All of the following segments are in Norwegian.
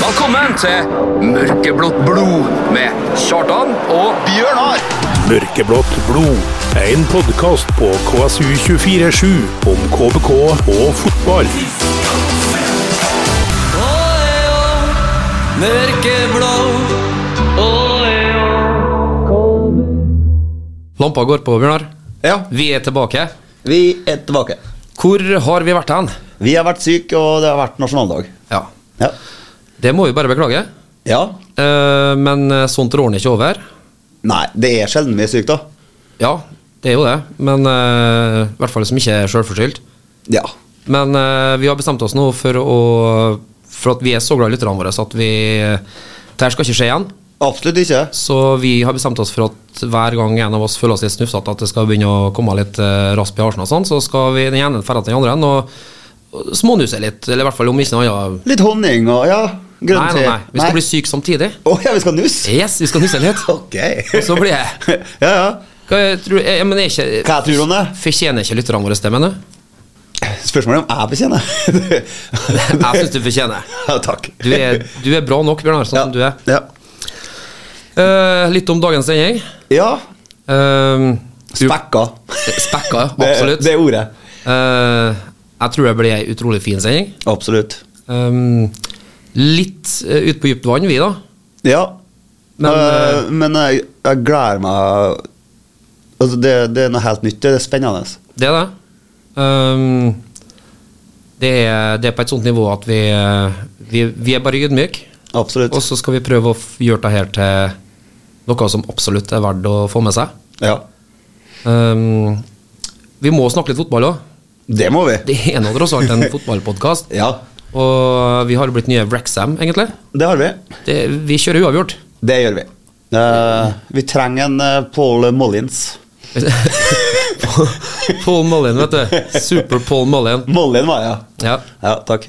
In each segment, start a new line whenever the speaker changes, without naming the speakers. Velkommen til Mørkeblått blod med Kjartan og Bjørnar.
Mørkeblått blod. En podkast på KSU247 om KBK og fotball.
Mørkeblå
Lampa går på, Bjørnar.
Ja,
Vi er tilbake.
vi er tilbake.
Hvor har vi vært hen?
Vi har vært syke, og det har vært nasjonaldag.
Ja.
Ja.
Det må vi bare beklage.
ja.
Eh, men eh, sånt rår den ikke over.
Nei, det er sjelden vi er syke, da.
Ja, det er jo det, men eh, i hvert fall som ikke er sjølforskyldt.
Ja.
Men eh, vi har bestemt oss nå for å For at vi er så glad i lytterne våre så at vi Dette skal ikke skje igjen.
Absolutt ikke.
Så vi har bestemt oss for at hver gang en av oss føler oss litt snufsete, at det skal begynne å komme litt eh, rasp i halsen og sånn, så skal vi den ene dra til den andre og og smånuse litt. Eller i hvert fall om ikke noe annet.
Litt honning og ja, grønn
Nei,
te.
nei, nei. Vi skal bli syke samtidig.
Å ja, vi skal nusse?
Yes, vi skal nusse litt.
Ok.
Og så blir jeg
ja, ja.
Hva jeg tror jeg, jeg, men jeg er ikke,
Hva tror du om det?
Fortjener ikke lytterne våre det, mener du?
Spørsmålet er om jeg betjener.
Jeg syns du fortjener.
ja, Takk.
Du er, du er bra nok, Bjørnar, sånn
ja.
som du er.
Ja.
Eh, litt om dagens sending.
ja.
Uh,
Spekka.
Spekka,
Det,
absolutt.
det er ordet.
Eh, jeg tror det blir ei utrolig fin sending.
Absolutt.
Um, litt eh, ut på dypt vann, vi, da.
Ja.
Men, eh,
Men, men jeg, jeg gleder meg Altså, det, det er noe helt nytt. Det er spennende.
Det er det. Um, det, er, det er på et sånt nivå at vi, eh, vi, vi er bare ydmyke.
Absolutt.
Og så skal vi prøve å f- gjøre det her til noe som absolutt er verdt å få med seg.
Ja.
Um, vi må snakke litt fotball òg.
Det må vi.
Det er nå tross alt en fotballpodkast.
Ja,
Og vi har blitt nye Wrexham, egentlig.
det har vi.
Det, vi kjører uavgjort.
Det gjør vi. Eh, vi trenger en eh, Paul Mollins.
Paul Mullin, vet du. Super Paul Mullin.
Mollin var jeg.
Ja.
Ja, takk.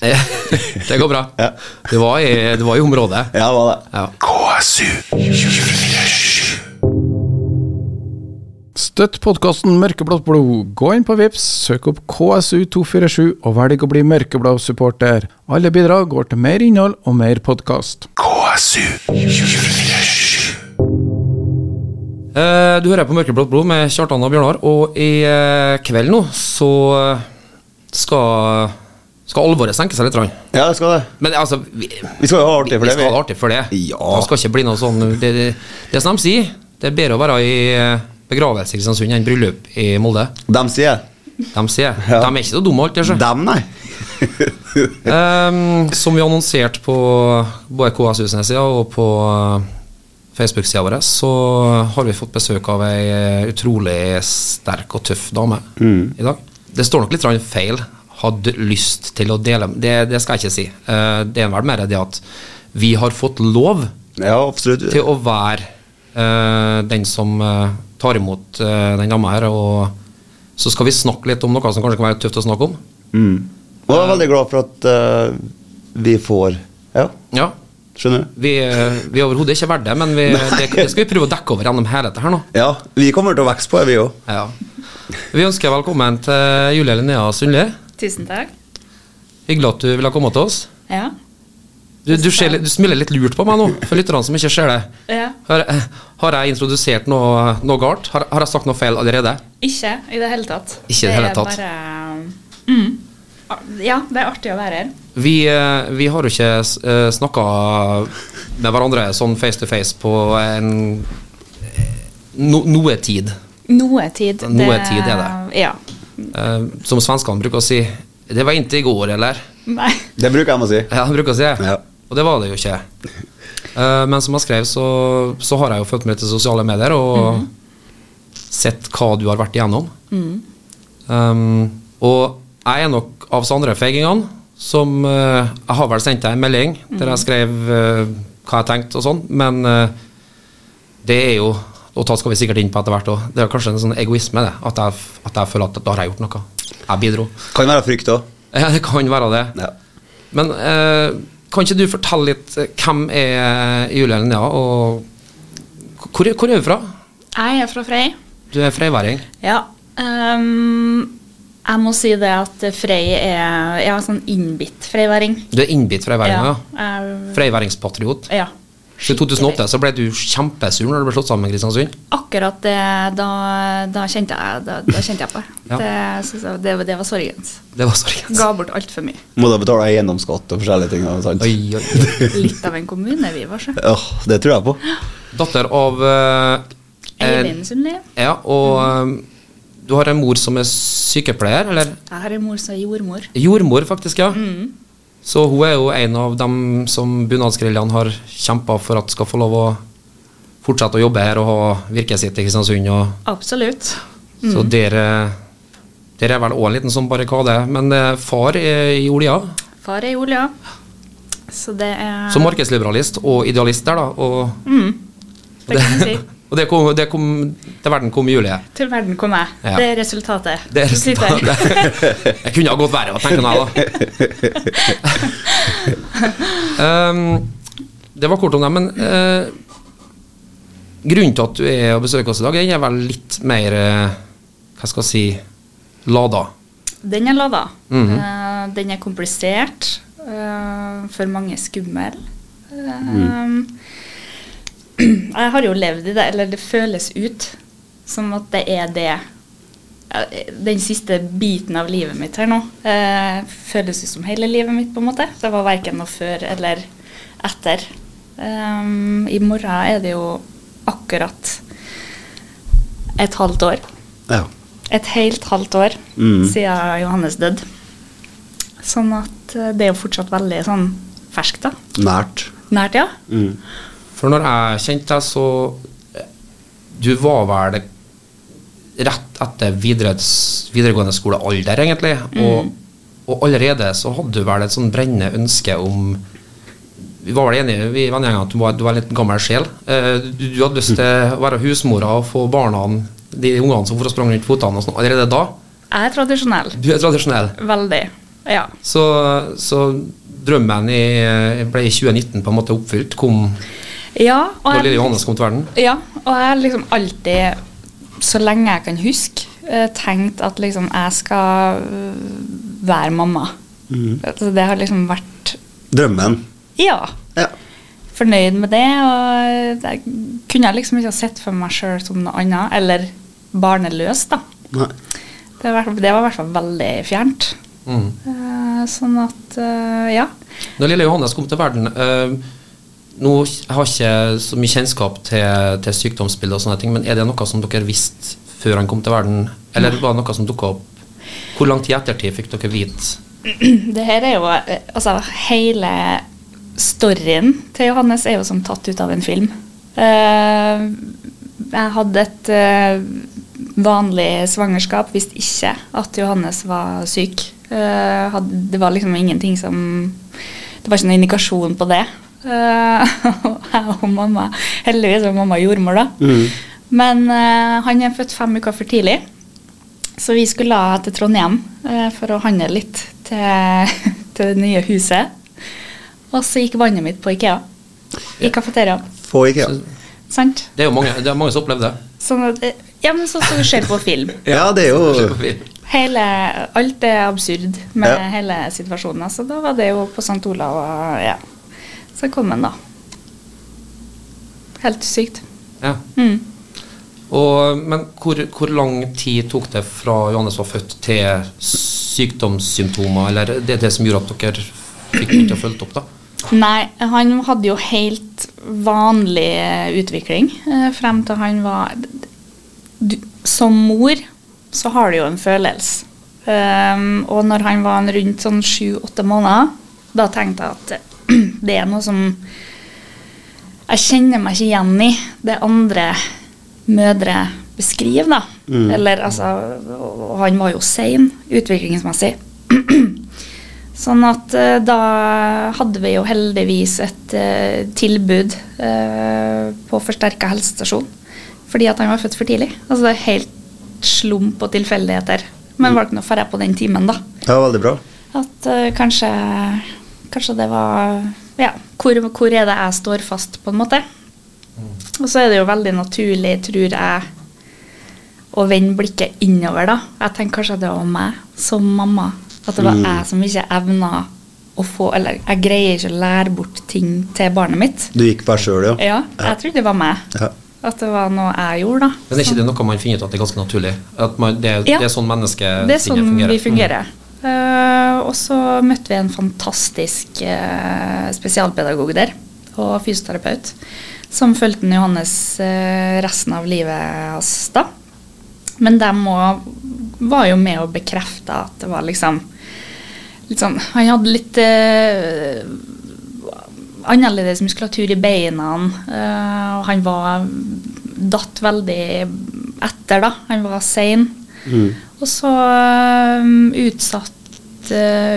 Det går bra.
Ja.
Det var i, det var i området.
Ja, det var det.
Ja.
Støtt podkasten Mørkeblått blod. Gå inn på Vips, søk opp KSU247 og velg å bli mørkeblå supporter. Alle bidrag går til mer innhold og mer podkast.
Eh, Du hører på Mørkeblått blod med Kjartan og Bjørnar, og i eh, kveld nå så eh, skal, skal alvoret senke seg litt. grann.
Ja, det skal det.
Men altså Vi,
Vi skal jo ha artig for
vi
det.
skal ha det artig for det.
Ja.
Det skal ikke bli noe sånn Det, det, det som de sier, det er bedre å være i eh, begravelse i Kristiansund enn bryllup i Molde.
Dem sier
De sier.
Ja.
De er ikke så dumme alt, det sjø.
Dem, nei.
Ehm, som vi annonserte på både KSU sine sider og på eh, Facebook-sida vår, så har vi fått besøk av ei eh, utrolig sterk og tøff dame i dag. Det står nok litt grann feil. Hadde lyst til å dele Det, det skal jeg ikke si. Eh, det er vel mer det at vi har fått lov
Ja, absolutt.
til å være eh, den som eh, tar imot eh, den dama her, og så skal vi snakke litt om noe som kanskje kan være tøft å snakke om.
Mm. Og jeg er veldig glad for at eh, vi får Ja,
Ja,
skjønner du?
Vi, vi er overhodet ikke verdt det, men vi, det, det skal vi prøve å dekke over gjennom hele dette her nå.
Ja, vi kommer til å vokse på det, vi òg.
Ja. Vi ønsker velkommen til Julie Linnea Sundli.
Tusen takk.
Hyggelig at du ville komme til oss.
Ja.
Du, du, ser, litt- du smiler litt lurt på meg nå, for lytterne som ikke ser det.
Ja.
Har, har jeg introdusert noe, noe galt? Har, har jeg sagt noe feil allerede?
Ikke i det hele tatt.
Ikke i det hele tatt.
Det er bare mm. Ar- Ja, det er artig å være her.
Vi, eh, vi har jo ikke snakka med hverandre sånn face to face på en eh, no, noe tid.
Noe tid.
Noe tid er
Ja.
Eh, Som svenskene bruker å si. Det var inntil i går, eller?
Nei.
Det bruker jeg å si.
Ja, han bruker å si det.
Ja.
Og det var det jo ikke. Eh, men som jeg skrev, så, så har jeg jo fulgt med til sosiale medier og sett hva du har vært igjennom. Um, og jeg er nok av oss andre feigingene som eh, Jeg har vel sendt deg en melding der jeg skrev eh, hva jeg tenkte og sånn, men eh, det er jo og da skal vi sikkert inn på etter hvert også, Det er kanskje en sånn egoisme, det. At jeg, at jeg føler at da har jeg gjort noe. Jeg bidro.
Kan være frykt òg.
Ja, det kan være det.
Ja.
Men eh, kan ikke du fortelle litt eh, hvem er Julie Linnea, og hvor, er- hvor er du fra?
Jeg er fra Frei.
Du er freiværing.
Ja. ehm, Jeg må si det at Frey er Ja, sånn innbitt freyværing.
Du er innbitt freiværinga, ja.
jeg-
Freiværingspatriot.
ja.
Så I 2008 så ble du kjempesur når du ble slått sammen med Kristiansund.
Akkurat det, da, da, kjente jeg, da, da kjente jeg på
Ja.
det. Det, synes jeg, det. Det var sorgens.
Det var sorgens.
Ga bort altfor mye.
Må da betale eiendomsskatt og forskjellige ting. og sånt.
Oi, oi, oi.
Litt av en kommune vi var, så.
Åh, det tror jeg på.
Datter av eh,
Eivind Sundli.
Ja, og eh, du har en mor som er sykepleier, eller
Jeg har en mor som er jordmor.
jordmor, faktisk, ja.
Mm.
Så hun er jo en av dem som bunadsgeriljaen har kjempa for at skal få lov å fortsette å jobbe her og ha virket sitt i Kristiansund. og
Absolutt. Mm.
Så dere, dere er vel òg en liten sånn barrikade. Men eh, far er i olja,
Far er jord, ja. Så det er
som markedsliberalist og idealist der, da. Og,
Det kan du si.
og det, kom, det kom til verden kom i juli.
Til verden kom jeg.
Ja.
Det er resultatet.
Det er
Så sitter jeg-
resultatet. Jeg kunne ha gått verre, tenker jeg da. um, det var kort om det, men eh, grunnen til at du er og besøker oss i dag, den er vel litt mer eh, Hva skal jeg si lada.
Den er lada. Eh, den er komplisert. eh, for mange skummel. Eh, Jeg har jo levd i det, eller det føles ut som at det er det eh, Den siste biten av livet mitt her nå eh, føles ut som hele livet mitt, på en måte. Det var verken noe før eller etter. Eh, I morgen er det jo akkurat et halvt år.
Ja.
Et helt halvt år
Mm.
siden Johannes døde. Sånn at eh, det er jo fortsatt veldig sånn ferskt, da.
Nært.
Nært, ja.
Mm.
For når jeg kjente deg, så eh, Du var vel rett etter videregs- videregående skolealder, egentlig. Og, og allerede så hadde du vel et sånn brennende ønske om Vi var vel enige vi var enige om at du var, du var en liten gammel sjel. Eh, Du, du hadde lyst til å være husmora og få barna, de ungene som for og sprang rundt føttene og sånn, allerede da.
Jeg er tradisjonell.
Du er tradisjonell.
Veldig. Ja.
Så, så drømmen i, ble i 2019 på en måte oppfylt, kom
Ja, og
da
jeg-
lille Johannes kom til verden.
Ja, og jeg har liksom alltid, så lenge jeg kan huske, eh, tenkt at liksom jeg skal øh, være mamma. Så det har liksom vært
Drømmen.
Ja.
Ja.
Fornøyd med det. Og jeg kunne jeg liksom ikke ha sett for meg sjøl som noe annet. Eller barneløs, da.
Nei.
Det var, det var i hvert fall veldig fjernt.
Mm.
Eh, sånn at eh, Ja.
Når lille Johannes kom til verden eh, Nå har jeg ikke så mye kjennskap til, til sykdomsbildet, og sånne ting, men er det noe som dere visste før han kom til verden? Eller var det noe som dukka opp? Hvor lang tid i ettertid fikk dere vite?
Det her er jo eh, Altså, hele storyen til Johannes er jo som tatt ut av en film. Eh, jeg hadde et eh, vanlig svangerskap, visste ikke at Johannes var syk. Eh, hadde, det var liksom ingenting som Det var ikke noen indikasjon på det. Eh, Jeg og mamma Heldigvis var mamma jordmor, da. Men eh, han er født fem uker for tidlig. Så vi skulle da til Trondheim eh, for å handle litt til, til det nye huset. Og så gikk vannet mitt på Ikea. I kafeteriaen.
Få IKEA.
Sant?
Det er jo mange, det er mange som opplevde det.
Sånn at, eh, ja, men sånn som det skjer på film.
Ja, det er jo
Hele, alt er absurd med
Ja.
hele situasjonen. Så da var det jo på St. Olav og ja. Så kom han, da. Helt sykt.
Ja.
Mm.
Og, men hvor, hvor lang tid tok det fra Johannes var født til sykdomssymptomer, eller det, det som gjorde at dere fikk begynt å følge opp, da?
Nei, han hadde jo helt vanlig eh, utvikling eh, frem til han var d- d- du, Som mor så har du jo en følelse. Ehm, og når han var en rundt sånn sju-åtte måneder, da tenkte jeg at eh, det er noe som jeg kjenner meg ikke igjen i det andre mødre beskriver, da. Eller altså og- Og han var jo sein utviklingsmessig. Sånn at eh, da hadde vi jo heldigvis et eh, tilbud eh, på forsterka helsestasjon. Fordi at han var født for tidlig. Altså det er helt slump og tilfeldigheter. Men var det ikke noe færre på den timen, da.
ja, veldig bra.
At eh, kanskje, kanskje det var Ja, hvor, hvor er det jeg står fast, på en måte? Og så er det jo veldig naturlig, tror jeg, å vende blikket innover, da. Jeg tenker kanskje at det var meg som mamma. At det var jeg som ikke evna å få Eller jeg greier ikke å lære bort ting til barnet mitt.
Du gikk bare sjøl, ja.
Ja, jeg trodde det var meg.
Ja.
At det var noe jeg gjorde, da.
Men er ikke det noe man finner ut at det er ganske naturlig? At man, det, er-
Sånn. Ja.
det er sånn mennesketinget
Det er sånn
fungerer? Mm.
vi fungerer. Eh, og så møtte vi en fantastisk eh, spesialpedagog der, og fysioterapeut, som fulgte den Johannes eh, resten av livet hans da. Men de òg var jo med og bekrefta at det var liksom litt sånn, Han hadde litt eh, annerledes muskulatur i beina. eh, og han var datt veldig etter, da. Han var sein. Og så um, utsatte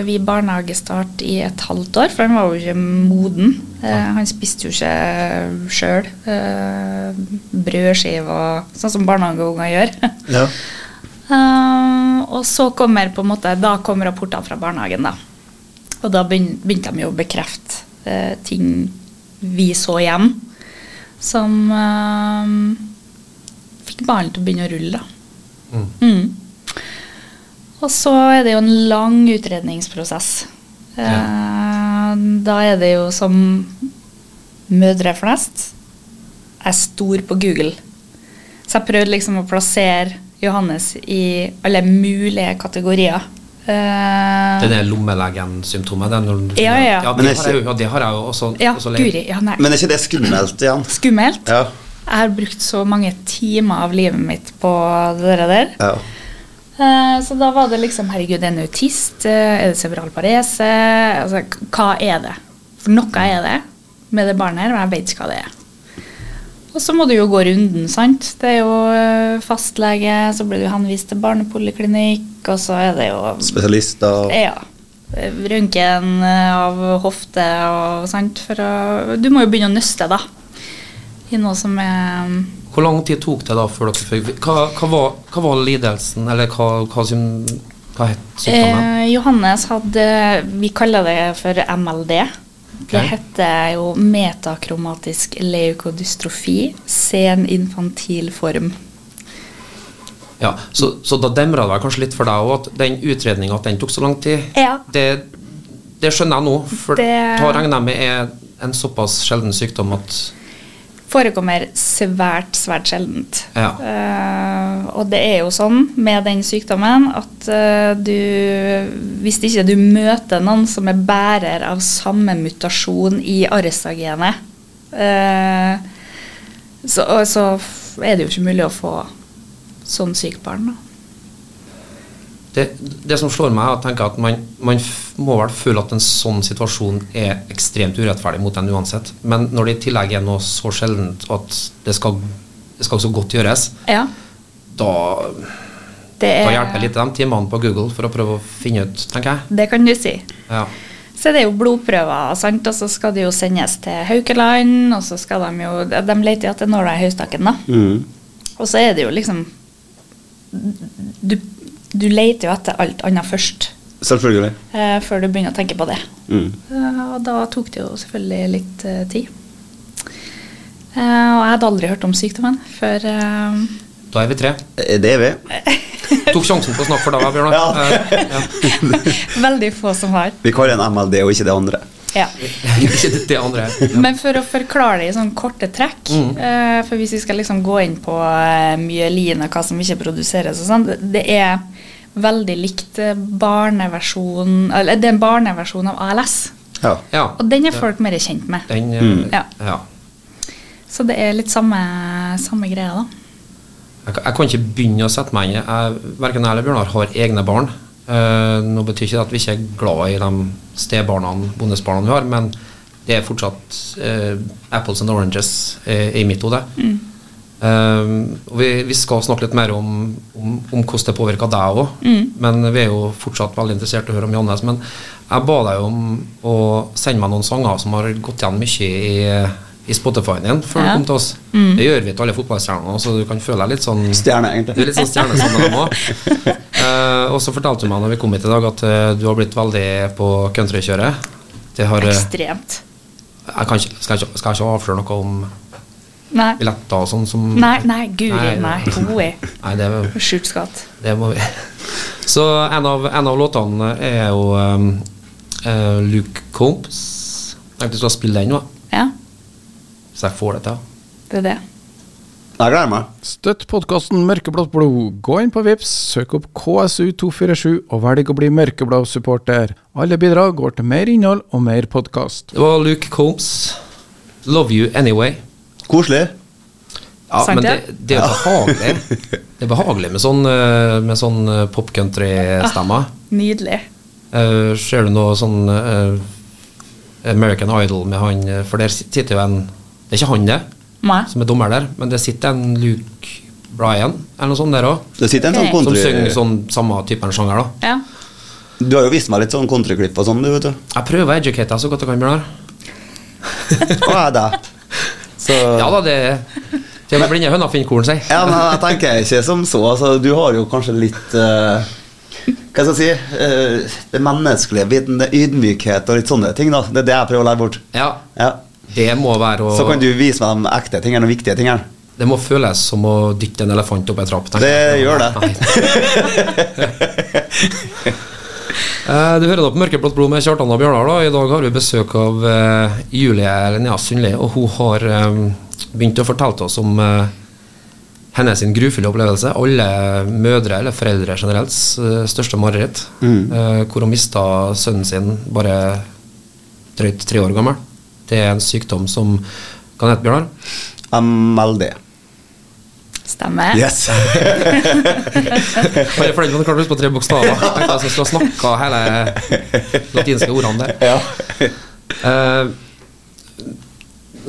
vi barnehagestart i et halvt år, for han var jo ikke moden. Eh, han spiste jo ikke sjøl uh, brødskive og sånn som barnehageunger gjør.
Ja.
Eh, og så kommer på en måte, da kom rapportene fra barnehagen, da. Og da begyn- begynte de jo å bekrefte eh, ting vi så hjem, som eh, fikk ballen til å begynne å rulle, da. Mm. Og så er det jo en lang utredningsprosess. Eh, Da er det jo som mødre flest er stor på Google. Så jeg prøvde liksom å plassere Johannes i alle mulige kategorier. Eh,
Det er det lommelegen-symptomet. det er når du-
Ja, ja, ja.
Ja,
Men
det
er
har jeg jo, ja, det har jeg jo også,
Ja,
også levd.
guri. Ja, nei.
Men er ikke det skummelt igjen?
Skummelt.
Ja.
Jeg har brukt så mange timer av livet mitt på det der.
ja.
Eh, Så da var det liksom Herregud, er han autist? Eh, Er det cerebral parese? Altså, k- hva er det? For noe er det med det barnet her, men jeg vet ikke hva det er. Og så må du jo gå runden, sant. Det er jo eh, fastlege, så blir du henvist til barnepoliklinikk, og så er det jo
Spesialister og
Ja. Røntgen eh, av hofte og sant. For å, du må jo begynne å nøste, da. I noe som er
Hvor lang tid tok det da før dere fikk hva, hva, var, hva var lidelsen, eller hva, hva, sym- hva het sykdommen?
eh, Johannes hadde Vi kaller det for MLD. Det
Ok.
heter jo metakromatisk leukodystrofi, sen infantil form.
Ja, så, så da demra det vel kanskje litt for deg òg, at den utredninga tok så lang tid.
Ja.
Det, det skjønner jeg nå, for
Det-
da regner jeg med er en såpass sjelden sykdom at
Forekommer svært, svært sjeldent.
Ja.
Eh, og det er jo sånn med den sykdommen at eh, du Hvis ikke du møter noen som er bærer av samme mutasjon i arrestagenet, eh, så, og så f- er det jo ikke mulig å få sånn sykt barn. Da.
det, det som slår meg, er at, tenker jeg at man, man f- må vel føle at en sånn situasjon er ekstremt urettferdig mot en uansett. Men når det i tillegg er noe så sjeldent at det skal, det skal så godt gjøres,
Ja,
da, da
det, er,
hjelper litt de timene på Google for å prøve å finne ut, tenker jeg.
det kan du si.
Ja.
Så det er jo blodprøver, sant? og så skal det jo sendes til Haukeland. Og så skal de jo De leter jo etter nåla i høystakken, da. Og så er det jo liksom Du, du leter jo etter alt annet først,
Selvfølgelig.
eh, før du begynner å tenke på det.
Mm.
Eh, og da tok det jo selvfølgelig litt eh, tid. Eh, og jeg hadde aldri hørt om sykdommen før eh,
Da er vi tre.
Eh, Det er vi.
Tok sjansen på å snakke for deg, Bjørnar. Eh, ja.
Veldig få som har.
Vi kaller den MLD og ikke det andre.
Ja.
Eh, Ikke det- det andre.
Men for å forklare det i sånn korte trekk
Mm.
eh, For hvis vi skal liksom gå inn på eh, myelin og hva som ikke produseres og sånn, det- det er veldig likt eh, barneversjon Eller det er en barneversjon av ALS.
Ja.
Ja.
Og den er folk mer kjent med.
Den, eh,
Ja.
ja.
Så det er litt samme, samme greia, da.
Jeg, kan- jeg kan ikke begynne å sette meg inn i jeg- Verken jeg eller Bjørnar har egne barn. Eh, nå betyr ikke det at vi ikke er glad i de stebarna, bondesbarna vi har, men det er fortsatt eh, apples and oranges eh, i mitt hode. Eh, og vi, vi skal snakke litt mer om, om, om hvordan det påvirker deg òg, men vi er jo fortsatt veldig interessert i å høre om Johannes. Men jeg ba deg om å sende meg noen sanger som har gått igjen mye i, i Spotify-en din før du
Ja.
kom til oss.
Mm.
Det gjør vi til alle fotballstjernene, så du kan føle deg litt sånn du
Stjerne,
er
egentlig.
litt sånn stjernesandam òg. Eh, og så fortalte du meg når vi kom hit i dag, at eh, du har blitt veldig på countrykjøret. Det har eh,
Ekstremt.
jeg kan ikke, skal, jeg ikke, skal jeg ikke avsløre noe om
Nei.
billetter og sånn som
Nei, nei, guri,
Nei,
nei.
nei.
Hun er
Nei, det,
skjult skatt.
det må vi Så en av, en av låtene er jo um, eh, Luke Combs. Tenkte jeg skulle spille den, da.
Ja,
Så jeg får det til.
det er det.
Jeg gleder meg.
Støtt podkasten Mørkeblått blod. Gå inn på Vips, søk opp KSU247 og velg å bli mørkeblå-supporter. Alle bidrag går til mer innhold og mer podkast.
Det var Luke Combs. 'Love You Anyway'.
Koselig.
Ja,
Sant
men
det?
det, det er jo behagelig. Det er behagelig med sånn, eh, med sånn eh, pop
Ah.
country-stemmer.
Nydelig.
Eh, ser du noe sånn eh, American Idol med han eh, For der sitter jo en Det er ikke han, det,
Nei.
som er dommer der, men det sitter en Luke Bryan eller noe sånt der òg.
Det sitter en
Ok.
sånn
Som
country
synger sånn samme typen sjanger, da.
Ja.
Du har jo vist meg litt sånn countryklipp og sånn, du, vet du.
Jeg prøver å educate deg så godt jeg kan, Bjørnar.
Og jeg er deg. Så
Ja da, det Til og med blinde høna finner korn, sier
Ja, men jeg tenker ikke som så. Altså, du har jo kanskje litt eh, Hva skal jeg si? Eh, det menneskelige biten, det ydmykhet og litt sånne ting. da Det er det jeg prøver å lære bort.
Ja,
Ja.
det må være å
Så kan du vise meg de ekte tingene, de viktige tingene.
Det må føles som å dytte en elefant opp en trapp. tenker
Det
jeg.
gjør det.
Eh, Du hører da på Mørkeblått blod med Kjartan og Bjørnar. da I dag har vi besøk av eh, Julie Linnea Sundli, og hun har eh, begynt å fortelle til oss om eh, hennes sin grufulle opplevelse. Alle mødre, eller foreldre generelt, s- største mareritt.
Mm.
eh, Hvor hun mista sønnen sin bare drøyt tre år gammel. Det er en sykdom som kan hete Bjørnar.
MLD.
Stemmer.
Yes.
Bare fordi man klarte å huske på tre bokstaver. Jeg tenkte jeg skulle snakke hele latinske ordene der.
ja.
Eh,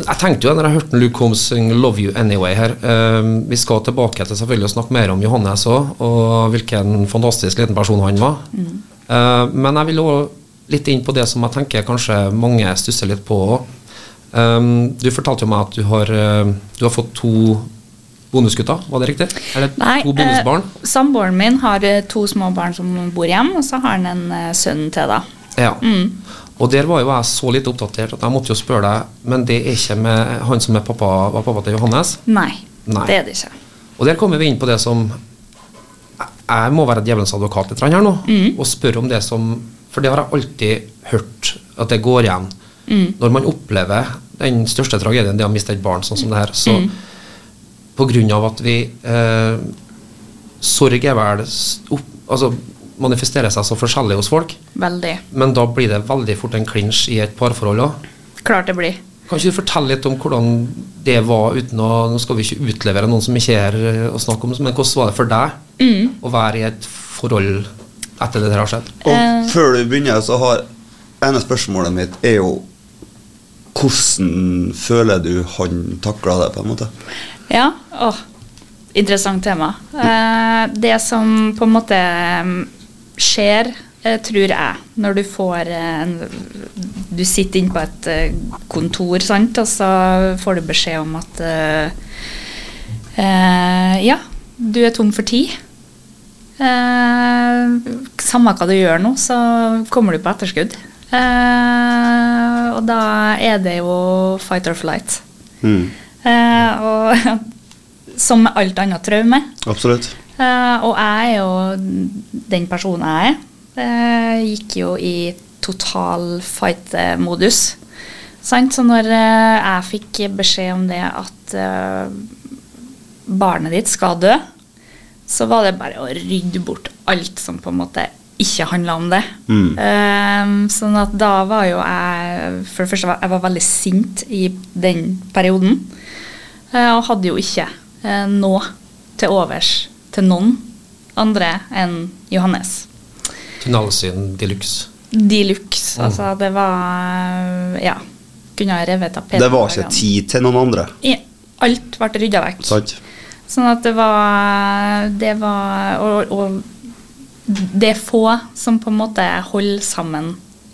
jeg tenkte jo når jeg hørte Luke Holmes synge 'Love You Anyway' her eh, Vi skal tilbake til selvfølgelig å snakke mer om Johannes òg, og hvilken fantastisk liten person han var.
Mm.
Eh, men jeg vil òg litt inn på det som jeg tenker kanskje mange stusser litt på òg. du fortalte jo meg at du har, eh, du har fått to bonusgutter, var det riktig? Eller
Nei,
to bonusbarn?
eh, samboeren min har eh, to små barn som bor hjemme, og så har han en eh, sønn til, da.
Ja. Og der var jo jeg så litt oppdatert at jeg måtte jo spørre deg, men det er ikke med han som er pappa, var pappa til Johannes?
Nei,
Nei.
det er det ikke.
Og der kommer vi inn på det som Jeg må være djevelens advokat litt her nå, og spørre om det som For det har jeg alltid hørt at det går igjen. Når man opplever den største tragedien, det å miste et barn sånn som det her, så på grunn av at vi eh, Sorg er vel s- opp, Altså manifesterer seg så forskjellig hos folk,
Veldig.
men da blir det veldig fort en klinsj i et parforhold òg.
Klart det blir.
Kan ikke du fortelle litt om hvordan det var uten å Nå skal vi ikke utlevere noen som ikke er her eh, å snakke om, men hvordan var det for deg
Mm.
å være i et forhold etter det der har skjedd?
Og før du begynner, så har ene spørsmålet mitt er jo hvordan føler du han takla det, på en måte?
Ja, åh, interessant tema. Eh, det som på en måte mm, skjer, eh, tror jeg, når du får eh, en Du sitter inne på et eh, kontor, sant, og så får du beskjed om at eh, eh, Ja, du er tom for tid. Eh, samme hva du gjør nå, så kommer du på etterskudd. Eh, og da er det jo fight or flight.
Mm.
Eh, og som med alt annet traume.
Absolutt.
Eh, og jeg er jo den personen jeg er. Eh, gikk jo i total fight-modus. Sant? Så når eh, jeg fikk beskjed om det at eh, barnet ditt skal dø, så var det bare å rydde bort alt som på en måte ikke handla om det. Eh, sånn at da var jo jeg For det første var jeg var veldig sint i den perioden. Eh, og hadde jo ikke eh, noe til overs til noen andre enn Johannes.
Tunnelsyn de luxe.
De luxe.
Mm.
Altså, det var eh, Ja. Kunne ha revet av
Det var ikke tid til noen andre.
I- Alt ble rydda vekk.
Sant?
Sånn at det var Det var og, og det er få som på en måte holder sammen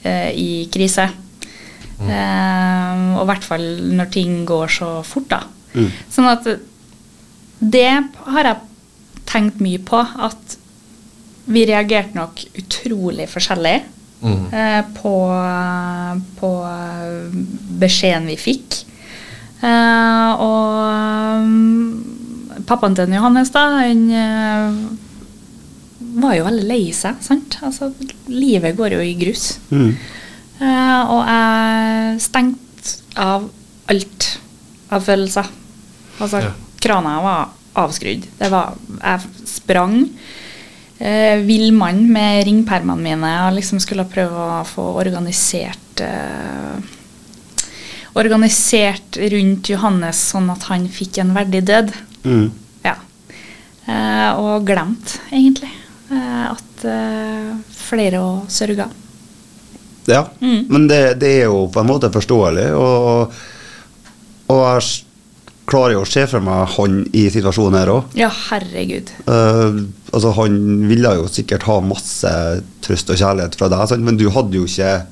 eh, i krise. Eh, og i hvert fall når ting går så fort, da. Sånn at det har jeg tenkt mye på. At vi reagerte nok utrolig forskjellig eh, på, på beskjeden vi fikk. Eh, og mm, pappaen til Johannes, da, han eh, var jo veldig lei seg, sant? Altså, livet går jo i grus. Eh, og jeg stengte av alt av følelser. Altså,
Ja.
krana var avskrudd. Det var, jeg sprang eh, villmann med ringpermene mine og liksom skulle prøve å få organisert eh, Organisert rundt Johannes sånn at han fikk en verdig død.
Mm.
Ja. Eh, og glemt, egentlig, eh, at eh, flere òg sørga.
Ja, men det, det er jo på en måte forståelig, og, og jeg s- klarer jo å se for meg han i situasjonen her òg.
Ja, herregud.
altså Han ville jo sikkert ha masse trøst og kjærlighet fra deg, sant? men du hadde jo ikke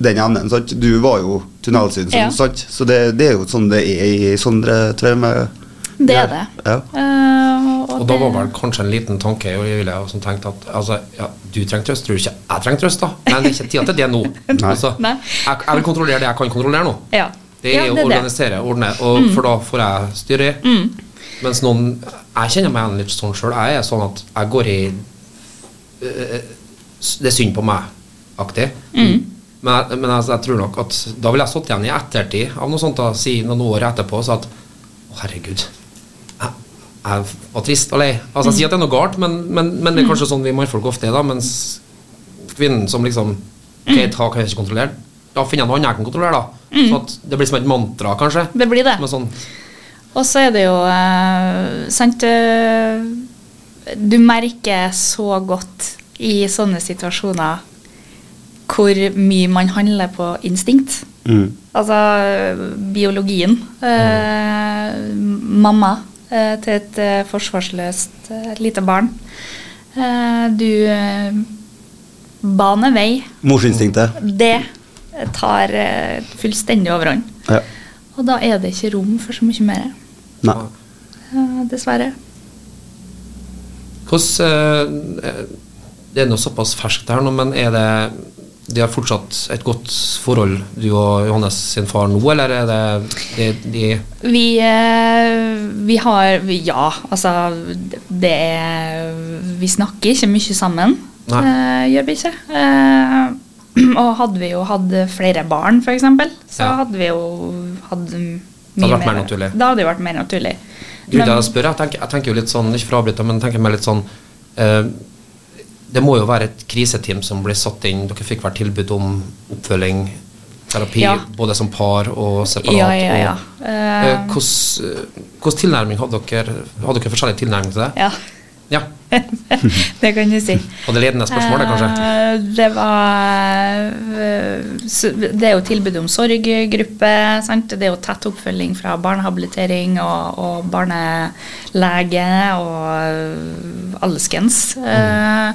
den evnen. Sant? Du var jo tunnelsyn,
Ja.
sant? så det, det er jo sånn det er i sånne traume.
Det er det.
Ja.
Eh,
Og da var vel kanskje en liten tanke og jeg ville jo som tenkte at altså, ja, du trenger trøst, tror du ikke jeg trenger trøst, da? Men det er ikke tida til det nå. Altså,
Nei.
jeg, jeg vil kontrollere det jeg kan kontrollere nå.
Ja.
Det
ja,
er å
det.
organisere, ordne, og for da får jeg styre. Mens noen Jeg kjenner meg igjen litt sånn sjøl. Jeg er sånn at jeg går i eh, s- Det er synd på meg-aktig. Men, jeg- men jeg, jeg tror nok at da ville jeg sittet igjen i ettertid av noe sånt da, si noen år etterpå og sagt Å, herregud. Jeg, jeg var trist og lei. Altså, jeg sier at det er noe galt, men, men, men det er kanskje sånn vi mannfolk ofte er, da. Mens kvinnen som liksom Ok, ta kan jeg ikke kontrollere. Da finner jeg noe annet jeg kan kontrollere, da. Sånn at det blir som et mantra, kanskje.
Det blir det.
Men sånn,
Og så er det jo eh, sant, eh, Du merker så godt i sånne situasjoner hvor mye man handler på instinkt.
Mm.
Altså eh, biologien. Eh, Mamma eh, til et eh, forsvarsløst eh, lite barn. Eh, du eh, baner vei.
Morsinstinktet.
Det tar eh, fullstendig overhånd.
Ja.
Og da er det ikke rom for så mye mer,
Nei.
eh, dessverre.
hvordan eh, Det er nå såpass ferskt her nå, men er det De har fortsatt et godt forhold, du og Johannes sin far nå, eller er det de, de
Vi, eh, vi har vi, Ja, altså det er Vi snakker ikke mye sammen.
Nei.
eh, gjør vi ikke. Eh, og hadde vi jo hatt flere barn, f.eks., så
Ja.
hadde vi jo hatt mye
hadde vært mer naturlig.
Da hadde det vært mer naturlig.
Grunnen til
Men-
at jeg spør, jeg tenker, jeg tenker jo litt sånn, ikke for å avbryte, men jeg tenker meg litt sånn eh, Det må jo være et kriseteam som ble satt inn. Dere fikk hvert tilbud om oppfølging, terapi,
Ja.
både som par og separat.
Ja, ja, ja.
og-
Eh,
Eh, Hvordan hvordan tilnærming hadde dere? Hadde dere forskjellig tilnærming til det?
ja.
Ja.
det kan du si.
Og det ledende spørsmålet, kanskje?
Eh, Det var eh, s- Det er jo tilbud om sorggruppe. Sant? Det er jo tett oppfølging fra barnehabilitering og, og barnelege og eh, alskens. Eh,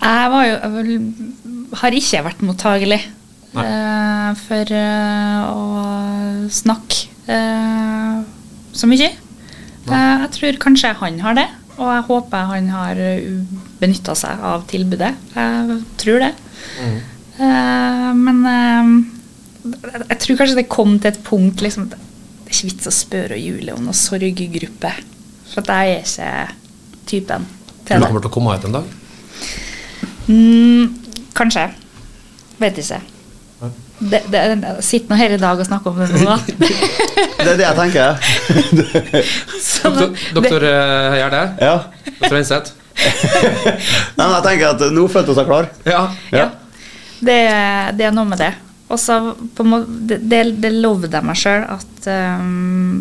Jeg var jo jeg vel- har ikke vært mottagelig eh, for eh, å snakke eh, så mye. Eh, Jeg tror kanskje han har det, og jeg håper han har benytta seg av tilbudet. Jeg tror det.
Mm.
Eh, Men eh, jeg- jeg tror kanskje det kom til et punkt liksom, at Det er ikke vits å spørre Julie om noe sorggruppe, for at jeg er ikke typen til
Tror dere
Eh. det.
kommer til å komme ut en dag?
Mm, kanskje. Vet ikke. Det, det, sitt nå her i dag og snakk om det nå, da.
Det er det jeg tenker.
Sånn at
Doktor, doktor eh, Høyer, det?
Ja.
Doktor Enseth?
Nei, men jeg tenker at nå følte hun seg klar.
Ja.
Ja.
det, det er noe med det. Og så på en måte, det, det, det lovde jeg meg sjøl at ehm,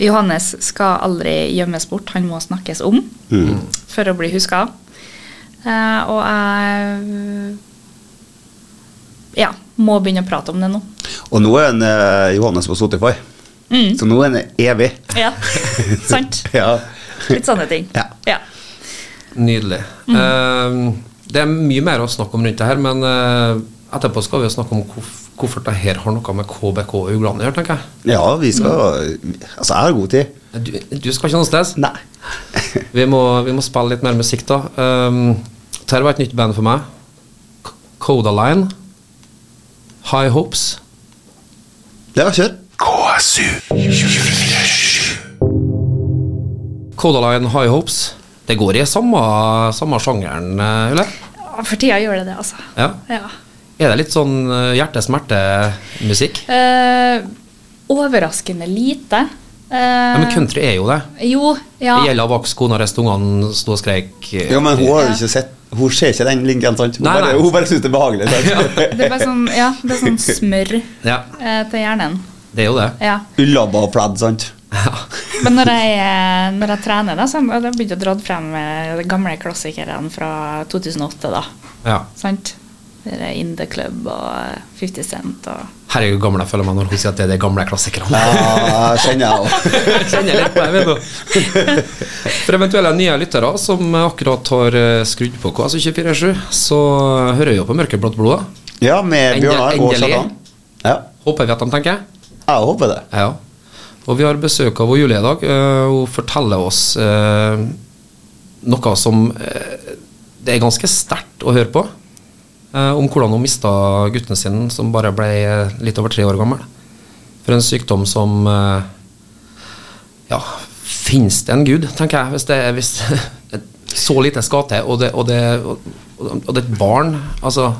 Johannes skal aldri gjemmes bort, han må snakkes om
Mm.
for å bli huska. Eh, og jeg ja, må begynne å prate om det nå.
Og nå er en, eh, Johannes på Spotify,
Mm.
så nå er han evig.
Ja, sant?
Ja.
Litt sånne ting.
Ja.
Nydelig. Eh, det er mye mer å snakke om rundt det her, men eh, etterpå skal vi jo snakke om hvorf hvorfor det her har noe med KBK og uglene å gjøre, tenker jeg.
ja, vi skal Altså, jeg har god tid.
Du, du skal ikke noe sted.
Nei.
Vi må, vi må spille litt mer musikk, da. Um, Dette var et nytt band for meg. K- Codaline. High Hopes.
Det var kjør.
Codaline High Hopes. Det går i samme, samme sjangeren, eh, eller?
Ja, For tida gjør det det, altså.
Ja.
Ja.
Er det litt sånn eh, hjerte-smerte-musikk?
Eh, overraskende lite. Eh,
Ja, men country er jo det.
Jo, ja.
Det gjelder vaks, kona rest, ungene sto og skreik. eh,
Jo, men hun har jo ikke sett Hun ser ikke den linken, sant? Hun
Nei,
bare,
nei.
hun bare syns det er behagelig. Sant?
Det er bare sånn, ja, det er sånn smør
Ja,
eh, til hjernen.
det er jo det.
Ja.
Ullabba og pladd, sant?
Men når jeg, eh, når jeg trener, da, så har jeg begynt å dra frem eh, de gamle klassikerne fra 2008. da,
Ja.
sant? Det er In The Club og eh, 50 Cent og
Herregud, hvor gammel jeg føler meg når hun sier at det er de gamle klassikerne.
Ja, kjenner jeg òg.
Jeg kjenner litt på det, vet du. For eventuelle nye lyttere som akkurat har eh, skrudd på KS247, så hører jo på Mørkeblått blod. da.
Ja, med
Ende-
Bjørnar og
endelig.
Kjartan. Ja,
Håper vi at de tenker.
jeg håper det.
Ja. Og vi har besøk av Julie i dag. eh, Hun forteller oss eh, noe som eh, det er ganske sterkt å høre på. eh, om hvordan hun mista gutten sin, som bare ble eh, litt over tre år gammel. For en sykdom som eh, Ja, fins det en gud, tenker jeg, hvis det er hvis så lite skal til, og det, og, det, og, og det er et barn. Altså,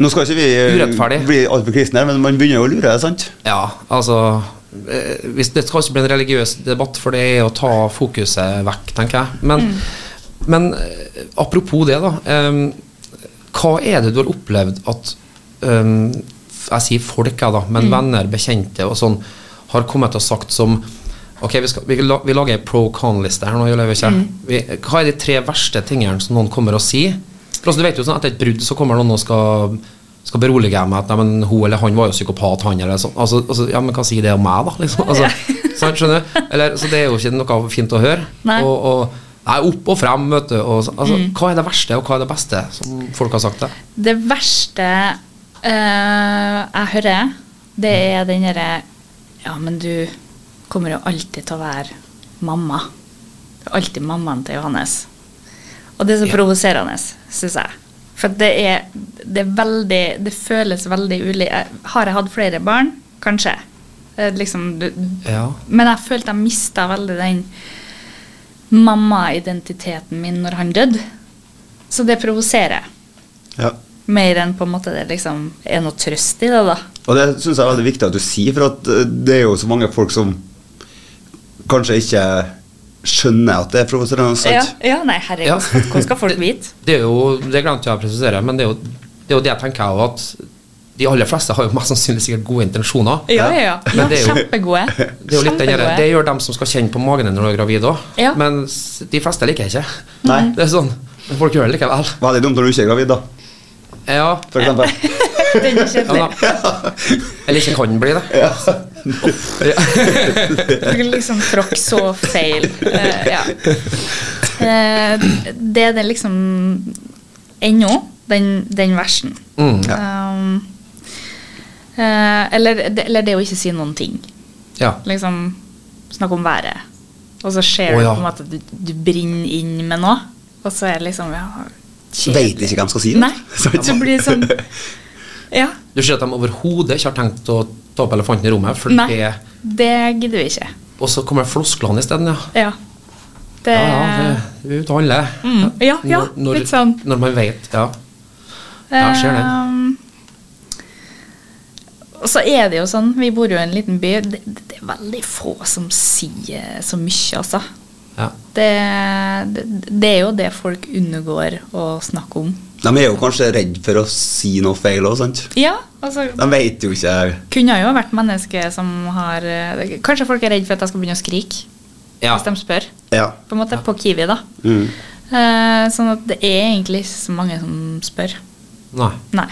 Nå skal ikke vi eh,
Urettferdig.
bli altfor kristne, her, men man begynner jo å lure, sant?
Ja, altså eh, hvis Det skal ikke bli en religiøs debatt, for det er å ta fokuset vekk, tenker jeg. Men, men eh, apropos det, da. em, hva er det du har opplevd at em, f- Jeg sier folk, jeg, da, men venner, bekjente og sånn har kommet og sagt som Ok, vi, skal, vi, la, vi lager ei pro con-liste her nå, Julie Øyvind Kjær. Vi, hva er de tre verste tingene som noen kommer og sier? For altså, du vet jo sånn, Etter et brudd så kommer noen og skal, skal berolige meg med at nei, men, hun eller han var jo psykopat, han eller sånn. Altså, altså, ja, men hva sier det om meg, da? Liksom? Altså, sant, skjønner du? Eller, så det er jo ikke noe fint å høre.
Nei. Mm.
Og, og, nei, opp og frem, vet du. Og, så- altså, Hva er det verste, og hva er det beste som folk har sagt det?
Det verste eh, jeg hører, det er den derre Ja, men du kommer jo alltid til å være mamma. Du er alltid mammaen til Johannes. Og det er så provoserende, syns jeg. For det er, det er veldig Det føles veldig ulikt. Har jeg hatt flere barn? Kanskje. Eh, Liksom, du,
Ja.
Men jeg følte jeg mista veldig den mammaidentiteten min når han døde. Så det provoserer.
Ja.
Mer enn på en måte det liksom er noe trøst i det, da.
Og det syns jeg er veldig viktig at du sier, for at eh, det er jo så mange folk som kanskje ikke skjønner at det er provoserende.
Ja,
sant?
ja, nei,
Ja.
herregud, hvordan skal folk vite?
Det er jo, det glemte jeg å presisere, men det er jo det, er jo det jeg tenker jo at de aller fleste har jo mest sannsynlig sikkert gode intensjoner.
Ja, ja, ja. ja
Men det er jo-
kjempegode.
Det er jo litt den der,
Kjempegode.
det gjør dem som skal kjenne på magen din når du er gravid òg,
Ja. Mm.
men s- de fleste liker jeg ikke.
Nei.
Det er sånn, Men folk gjør det likevel.
Veldig dumt når du ikke er gravid, da.
Ja,
For eksempel.
Den er
ja da.
kjedelig.
Eller ikke kan bli det.
Du kan liksom tråkke så feil. Eh, ja. Eh, det er det liksom ennå, den, den versen.
Mm.
Um, eh, eller, det- eller det å ikke si noen ting.
Ja.
Liksom snakke om været. Og så skjer
Å, ja.
det på en måte at du, du brenner inn med noe, og så er det liksom ja, kjedelig.
Veit ikke hva de skal si.
Nei.
Sant?
Så blir det sånn Ja.
Du ser at de overhodet ikke har tenkt å ta opp elefanten i rommet, for
Nei.
det
Det gidder vi ikke.
Og så kommer flosklene isteden, ja.
Ja. Det,
Ja, ja, det- vi er ute og handler.
Eh. Mm, ja, ja,
Når- når,
litt sånn.
Når man vet, ja. Ja, skjer det.
Ehm, og så er det jo sånn, vi bor jo i en liten by, det, det er veldig få som sier så mye, altså.
ja.
Det, det, det er jo det folk undergår å snakke om.
De er jo kanskje redd for å si noe feil òg, sant?
Ja, altså,
De vet jo ikke
kunne jo vært menneske som har eh, Kanskje folk er redd for at jeg skal begynne å skrike
ja.
hvis de spør,
Ja.
på en måte, på Kiwi, da.
Mm.
Eh, sånn at det er egentlig ikke så mange som spør.
Nei.
Nei.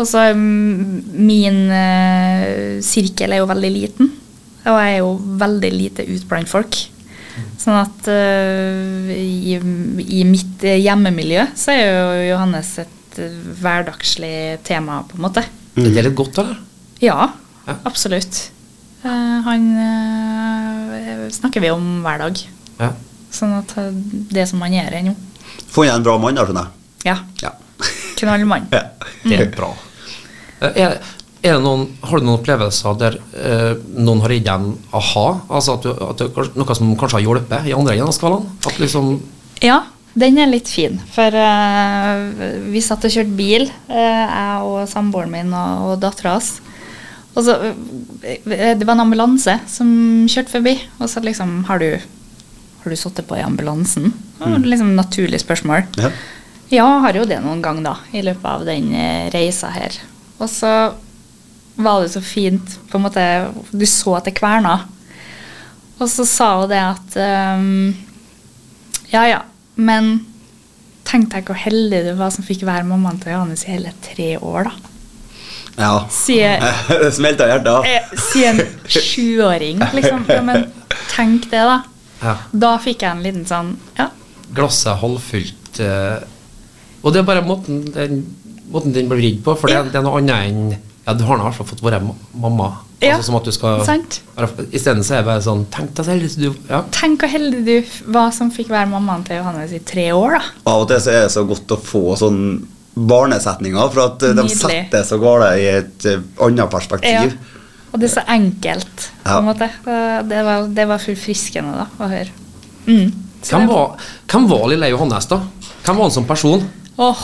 Og så mm, min eh, sirkel er jo veldig liten, og jeg er jo veldig lite ute blant folk.
Mm.
Sånn at eh, i, i mitt eh, hjemmemiljø så er jo Johannes et eh, hverdagslig tema, på en måte.
Er det litt godt, eller?
Ja,
Ja.
absolutt. Eh, han eh, snakker vi om hver dag.
Ja.
Sånn at eh, det som han gjør ennå.
Få igjen en bra mann, da, skjønner jeg.
Ja.
Ja.
Knallmann.
Ja.
Det er bra. Eh, Er, Er det noen, har du noen opplevelser der eh, noen har gitt deg en aha? Altså at, du, at det, er kanskje- Noe som kanskje har hjulpet i andre enden av skalaen? At liksom,
Ja, den er litt fin. For eh, vi satt og kjørte bil, eh, jeg og samboeren min og, og dattera hans. Og så, eh, det var en ambulanse som kjørte forbi, og så liksom Har du, har du sittet på i ambulansen? Det var Liksom naturlig spørsmål.
Ja.
Ja, har jo det noen gang, da, i løpet av den eh, reisa her. Og så var det så fint, på en måte Du så at det kverna. Og så sa hun det at ehm, Ja ja, men tenk deg hvor heldig du var som fikk være mammaen til Johannes i hele tre år, da.
Ja.
Sier,
Det smelta i hjertet.
eh, sier en sjuåring, liksom. Ja, men tenk det, da.
ja.
Da fikk jeg en liten sånn Ja,
glasset er halvfullt. eh, Og det er bare måten den, måten den blir vridd på, for det,
Ja.
er- det er noe annet enn ja, Du har nå i hvert fall fått være ma- mamma.
Ja,
Altså som at du skal
sant.
Isteden så er det bare sånn Tenk deg selv. hvis Du, ja.
tenk hvor heldig du f- var som fikk være mammaen til Johannes i tre år, da.
Av og til så er det så godt å få sånn barnesetninger, for at eh, de
Nydelig.
setter så gale i et eh, annet perspektiv.
Og det er så enkelt, på
Ja.
en måte. Eh, Det var, det var forfriskende da, å høre. Mm. Så
Hvem
det-
var, hvem var lille Johannes, da? Hvem var han som person?
Åh,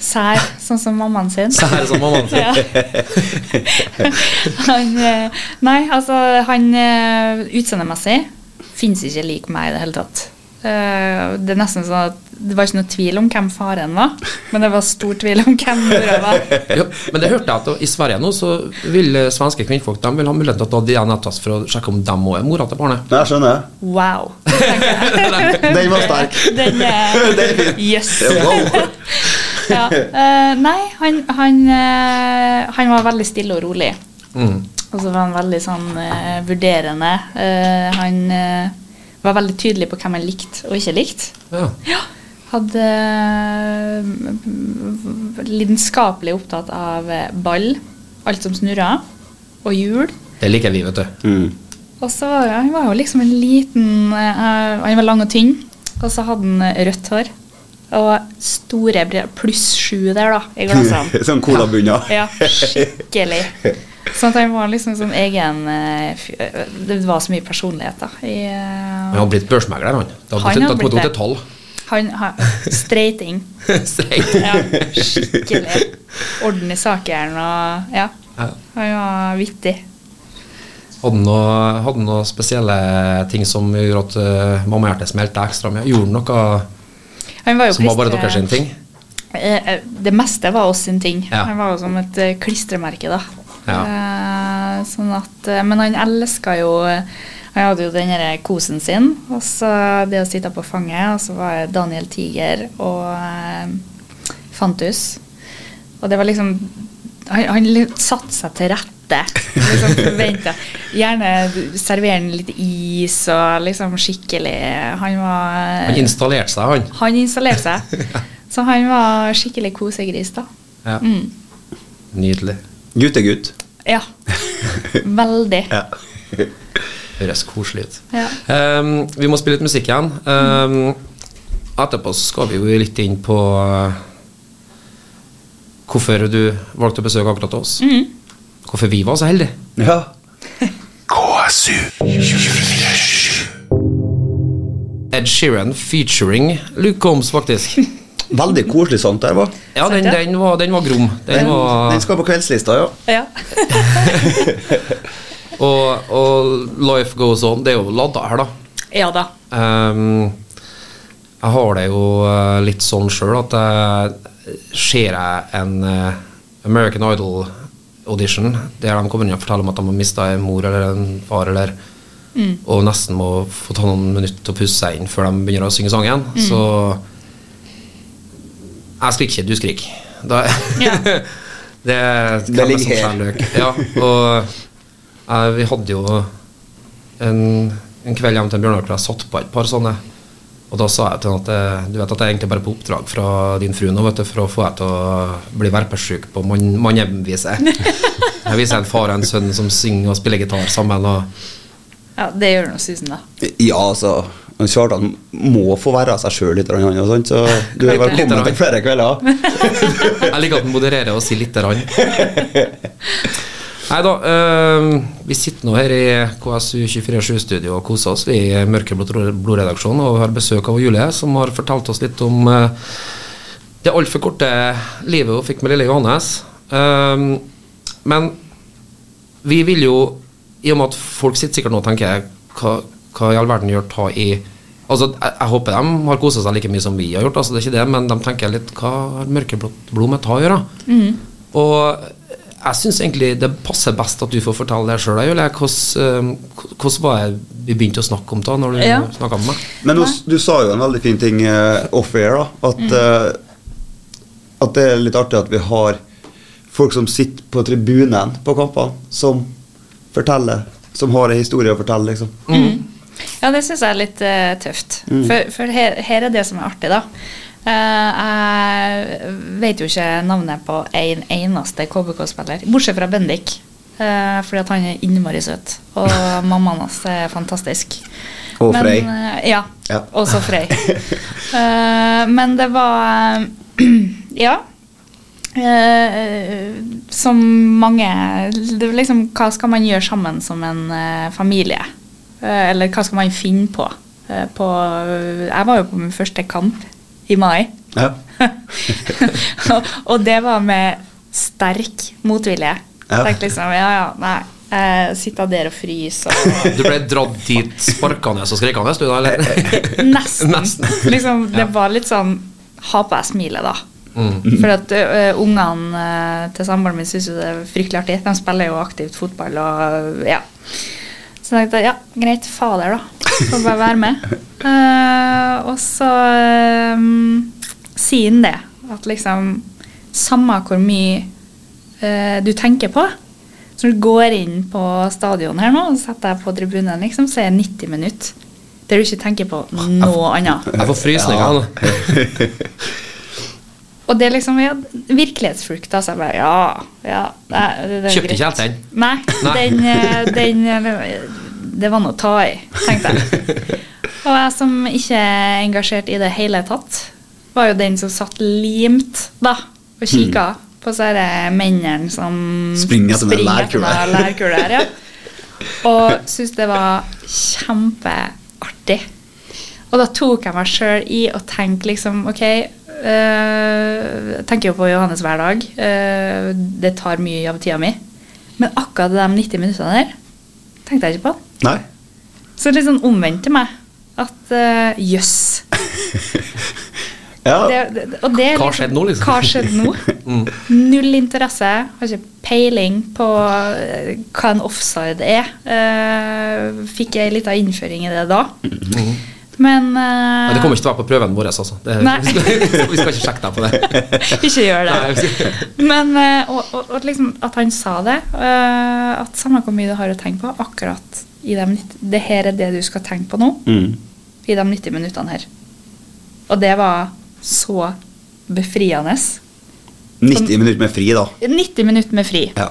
sær, sånn som mammaen sin.
Så her er sånn mammaen sin.
Ja. han, eh, nei, altså, han eh, utseendemessig fins ikke lik meg i det hele tatt. Eh, Det er nesten sånn at det var ikke noe tvil om hvem faren var, men det var stor tvil om hvem mora var.
Jo, men det hørte jeg at i Sverige nå så vil eh, svenske kvinnfolk de vil ha muligheten til å ta DNA-test for å sjekke om dem òg er mora til barnet.
Ja, jeg skjønner.
Wow.
Den var sterk.
Den er Jøss.
Wow.
ja. eh, nei, han, han, eh, han var veldig stille og rolig. Og så var han veldig sånn eh, vurderende. Eh, han eh, var veldig tydelig på hvem han likte og ikke likte.
Ja.
Ja. Hadde eh, m- m- lidenskapelig opptatt av eh, ball, alt som snurra, og hjul.
Det liker vi, vet du.
Og så var jo- han var jo liksom en liten eh, Han var lang og tynn, og så hadde han eh, rødt hår. Og store briller. Pluss sju der, da, i glassene.
Sånn colabunner.
Ja, skikkelig. Sånn at han var liksom sånn egen eh, fy- eh, Det var så mye personlighet, da. I, eh,
Han har blitt børsmegler, han. Det har
Han
blitt,
har
det har
blitt
gått opp
det.
til tolv.
han har Streiting.
Streit.
Ja, skikkelig. Orden i sakene og Ja. Han var vittig.
Hadde han noe, hadde han noe spesielle ting som gjorde at eh, mammahjertet smelte ekstra mye? Gjorde han noe
Han var jo
som var bare
klistre-
deres sin ting?
Eh, eh, Det meste var oss sin ting.
Ja.
Han var jo som et eh, klistremerke, da.
Ja.
Eh, sånn at, eh, men han elska jo eh, Han hadde jo den derre kosen sin, og så det å sitte på fanget, og så var det Daniel Tiger og eh, Fantus. Og det var liksom Han, han li- satte seg til rette. Liksom forventa. Gjerne servere han litt is og liksom skikkelig Han var eh,
Han installerte seg, han.
han installerte seg. Så han var skikkelig kosegris, da.
Ja.
Mm.
Nydelig.
Guttegutt.
Ja. Veldig.
Ja.
Høres koselig ut.
Ja.
Ehm, vi må spille litt musikk igjen. Ehm, etterpå så skal vi jo litt inn på eh, hvorfor du valgte å besøke akkurat oss.
Mm.
Hvorfor vi var så heldige.
ja.
KSU 247.
Ed Sheeran featuring Luke Combs, faktisk.
Veldig koselig sånt der, hva?
Ja, den, den, var, den var grom. Den
Den,
var
den skal på kveldslista, ja.
Ja.
Og, og Life Goes On, det er jo ladda her, da.
ja da.
Ehm, jeg har det jo eh, litt sånn sjøl at jeg ser jeg en eh, American Idol audition der de kommer inn og forteller om at de har mista en mor eller en far eller og nesten må få ta noen minutter til å pusse seg inn før de begynner å synge sangen, så Jeg skriker ikke, du skriker. Da,
Ja.
det
Det
hvem er
ligger
som
her.
skjærer løk? Ja, og eh, vi hadde jo en, en kveld hjemme til Bjørnar hvor jeg satt på et par sånne. Og da sa jeg til han at eh, du vet at jeg er egentlig bare på oppdrag fra din frue nå, vet du, for å få deg til å bli verpesjuk på mann- mannehjemviset. Jeg viser en far og en sønn som synger og spiller gitar sammen. og
ja det gjør nå Susan, da.
Ja, altså. men Kjartan må få være seg sjøl litt, eller annet, og sånt, så du er velkommen til flere kvelder.
Jeg liker at han modererer og sier lite grann. Nei da, eh, vi sitter nå her i KSU247-studio og koser oss. Vi i Mørkeblått blodredaksjon og har besøk av Julie, som har fortalt oss litt om eh, det altfor korte livet hun fikk med lille Johannes. Eh, men vi vil jo, i og med at folk sitter sikkert nå og tenker hva, hva i all verden gjør ta i Altså, jeg, jeg håper de har kosa seg like mye som vi har gjort, altså det er ikke det, men de tenker litt hva har mørkeblått blod med ta å gjøre? Og jeg syns egentlig det passer best at du får fortelle det sjøl, Julie. Hvordan eh, hvordan var det vi begynte å snakke om det når du
Ja.
snakket med meg?
Men nå, du sa jo en veldig fin ting eh, off-air, da. At, eh, at det er litt artig at vi har folk som sitter på tribunen på kampene, som forteller. Som har en historie å fortelle, liksom.
Ja, det syns jeg er litt eh, tøft.
Mm.
For, for her, her er det som er artig, da. Eh, jeg vet jo ikke navnet på en eneste KBK-spiller, bortsett fra Bendik. eh, fordi at han er innmari søt, og mammaen hans er fantastisk.
Og Frey.
eh, ja,
Ja.
også Frey. Eh, men det var Ja. Eh, som mange det var liksom, Hva skal man gjøre sammen som en eh, familie? Eh, eller hva skal man finne på? Eh, på jeg var jo på min første kamp i mai.
Ja.
og, og det var med sterk motvilje.
Ja.
Jeg tenkte liksom Ja, ja, nei. eh, sitter der og fryser og
Du ble dratt dit sparkende og skrekkende, du da? Eller?
Nesten.
Nesten.
Liksom, det var litt sånn Ha på deg smilet, da. For at ø, ungene ø, til samboeren min syns jo det er fryktelig artig. De spiller jo aktivt fotball og ja. Så jeg tenkte ja, greit, fader, da. Får bare være med. Eh, og så um, sier han det. At liksom Samme hvor mye eh, du tenker på. Så når du går inn på stadion her nå, og setter deg på tribunen, liksom, så er det 90 minutter der du ikke tenker på noe annet.
Jeg får frysninger nå.
Og det er liksom ja, virkelighetsflukt. Altså, jeg bare ja, ja nei, det, det er
Kjøpte
greit.
ikke helt den.
Nei,
Nei.
Den, eh, den eh, Det var noe å ta i, tenkte jeg. Og jeg som ikke er engasjert i det hele tatt, var jo den som satt limt da, og kikka på disse mennene som
Mm. Springer etter den lærkula.
den lærkula her, ja. Og syntes det var kjempeartig. Og da tok jeg meg sjøl i å tenke liksom Ok, øh, jeg tenker jo på Johannes hver dag. øh, det tar mye av tida mi. Men akkurat de 90 minuttene der tenkte jeg ikke på.
Nei.
Så litt sånn omvendt til meg. At øh, jøss.
Ja.
Det- det- og det er
Hva skjedde nå, liksom? Mm.
Hva skjedde nå? Null interesse. Har ikke peiling på eh, hva en offside er. Eh, fikk jeg litt av innføring i det da. Men eh,
Mm. Nei, Det kommer ikke til å være på prøven vår, altså. Det,
Nei.
vi skal ikke sjekke deg på det.
Ikke gjør det.
Nei, jeg skal-
Men eh, og, og, og liksom at han sa det, eh, at samme hvor mye du har å tenke på, akkurat i de 90, det her er det du skal tenke på nå,
Mm.
i de 90 minuttene her. Og det var så befriende.
90 minutter med fri, da.
90 minutter med fri.
Ja.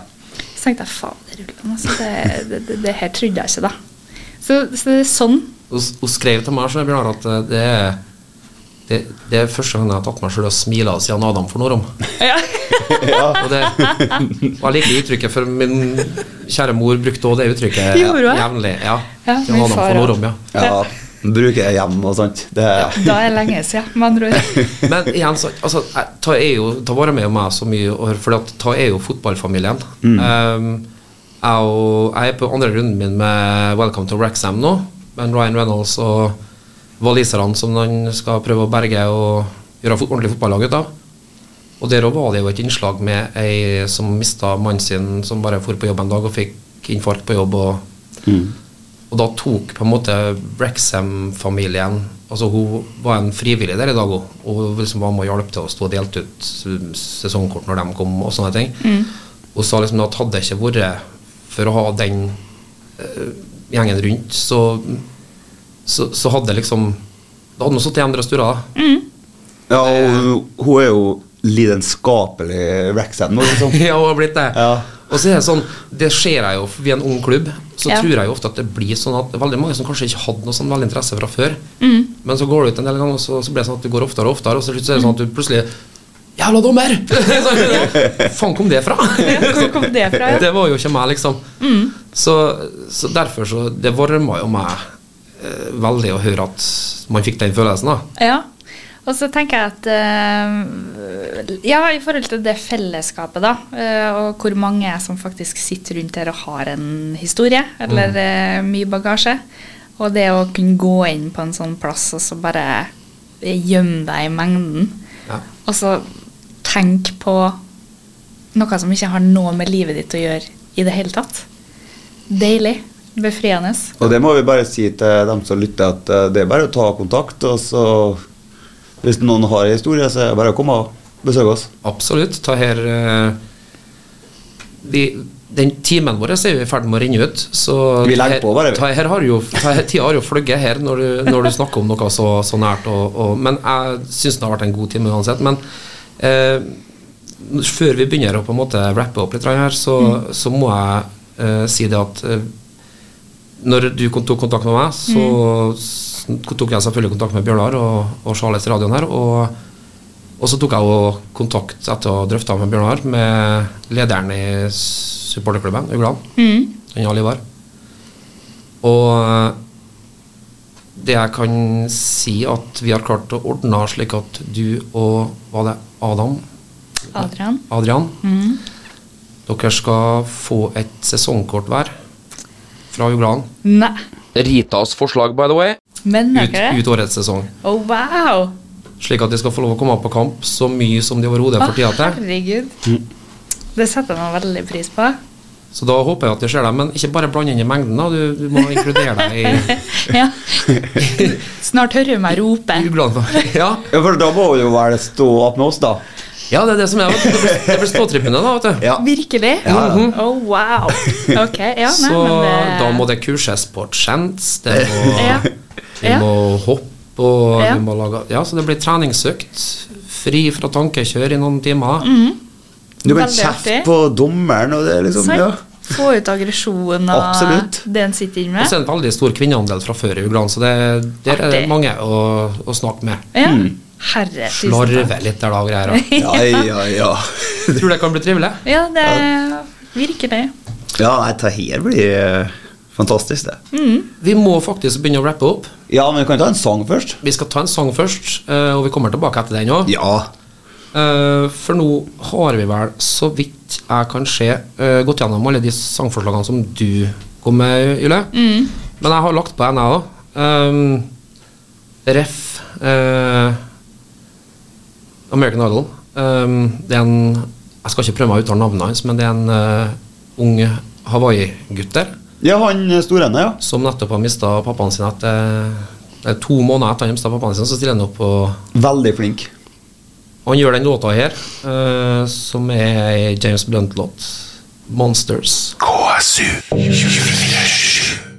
Så tenkte jeg faderullan, altså, det, det, det, det her trodde jeg ikke, da. Så, så det er sånn.
Hun hun skrev til meg så jeg Bjørnar, at eh, det er, det, det er første gang jeg har tatt meg selv og smila siden Adam for noen år om. Og, det, og jeg liker det uttrykket, for min kjære mor brukte også det uttrykket
Gjorde hun?
jevnlig. Ja,
Ja,
siden
min
Adam
far
for noen
også.
år om, ja.
ja. Bruker jeg hjem og sånt. Det
Da er det lenge siden, med andre ord.
Men igjen, så, altså, jeg- ta, er jo, ta vare med meg så mye, og hør, for at ta er jo fotballfamilien. Um, jeg, og, jeg er på andre runden min med Welcome to Wrexham nå, med Ryan Reynolds og waliserne som han skal prøve å berge og gjøre fot ordentlig fotballag ut av. Og der også var det jo et innslag med ei som mista mannen sin, som bare for på jobb en dag og fikk infarkt på jobb. og og da tok på en måte Brexham-familien Altså Hun var en frivillig der i dag òg, og liksom var med og hjalp til å stå og delte ut s- sesongkort når de kom, og sånne ting. Hun sa liksom at hadde det ikke vært for å ha den eh, gjengen rundt, så, så, så hadde liksom Da hadde hun sittet i andre sturer, da.
Ja, og hun er jo lidenskapelig Rexham nå, liksom.
ja, og blitt det.
Ja.
Og så er det sånn, det ser jeg jo, for vi er en ung klubb, så
Ja.
tror jeg jo ofte at det blir sånn at det er veldig mange som kanskje ikke hadde noe sånn veldig interesse
Mm.
fra før, men så går det ut en del ganger, og så, så blir det sånn at det går oftere og oftere, og så, til slutt så er det sånn at du plutselig Jævla dommer! Sånn, Faen kom det fra?
Hvor kom det fra? Ja? Mm.
Det var jo ikke meg, liksom. Så, så derfor så Det varma jo meg eh, veldig å høre at man fikk den følelsen, da.
Ja. Og så tenker jeg at eh, Ja, i forhold til det fellesskapet, da, eh, og hvor mange er som faktisk sitter rundt her og har en historie,
Mm.
eller eh, mye bagasje, og det å kunne gå inn på en sånn plass og så bare gjemme deg i mengden,
Ja.
og så tenke på noe som ikke har noe med livet ditt å gjøre i det hele tatt. Deilig. Befriende.
Og det må vi bare si til dem som lytter, at eh, det er bare å ta kontakt. Og så hvis noen har en historie, så er det bare å komme og besøke oss.
Absolutt. Ta her eh, vi, Den timen vår er jo i ferd med å renne ut, så
Vi legger
her-
på bare, vi.
Ta her har jo, ta her, tida har jo fløyet her når du, når du snakker om noe så, så nært. Og, og, men jeg syns det har vært en god time uansett. Men eh, før vi begynner å på en måte rappe opp litt her, så,
Mm.
så må jeg eh, si det at eh, når du kon- tok kontakt med meg, så
Mm.
s- tok jeg selvfølgelig kontakt med Bjørnar og, og Charles i radioen her. Og, og så tok jeg jo kontakt etter å ha drøfta med Bjørnar med lederen i supporterklubben, Uglan.
Mm.
Han Alivar. Og eh, det jeg kan si, at vi har klart å ordne slik at du og var det Adam
Adrian.
Adrian,
Mm.
dere skal få et sesongkort hver fra Uglan.
Nei,
Ritas forslag, by the way.
men er
Ut,
ikke det?
ut årets sesong.
Å, wow!
Slik at de skal få lov å komme opp på kamp så mye som de overhodet får
Å,
tid til.
Ah, herregud.
Mm.
Det setter jeg meg veldig pris på.
Så da håper jeg at de ser deg. Men ikke bare blande inn i mengden, da. Du, du må inkludere deg i
ja. Snart hører du meg rope.
Uglan. Ja.
Ja, for da må jo vel stå opp med oss, da.
ja, det er det som er. vet du. Det blir, det blir ståtrippene, da. vet du.
Ja.
Virkelig?
Ja,
Mhm. Å, wow. Ok, ja, nei,
Så
men det...
da må det kurses på chants, det må,
Ja.
vi
Ja.
må hoppe og
Ja.
vi må lage Ja, så det blir treningsøkt. Fri fra tankekjør i noen timer.
Mhm.
Du kan
Veldig
kjefte
artig.
på dommeren og det, liksom.
Sant?
Ja.
Få ut aggresjonen og
Absolutt.
det en sitter inne
Og så
med.
er det en veldig stor kvinneandel fra før i Ugland, så det, der er det
Artig.
mange å, å snakke med.
Ja. Herre, tusen
Slarve
takk.
litt der da og greier. da.
Mm. Ja, ja, ja.
Tror det kan bli trivelig.
Ja, det virker det.
Ja, nei, det her blir eh, fantastisk, det.
Vi må faktisk begynne å rappe opp.
Ja, men vi kan ta en sang først.
Vi skal ta en sang først, eh, og vi kommer tilbake etter den òg.
Ja.
For nå har vi vel, så vidt jeg kan se, eh, gått gjennom alle de sangforslagene som du kom med, Jule. Men jeg har lagt på en, jeg òg. ref. eh, American Idol. Um, det er en Jeg skal ikke prøve meg å uttale navnet hans, men det er en eh, ung Hawaii-gutt der
Ja, han Storende, ja.
som nettopp har mista pappaen sin etter det er To måneder etter han mista pappaen sin, så stiller han opp og
Veldig flink.
Han gjør den låta her, eh, som er ei James Blunt-låt. 'Monsters'.
KSU 247.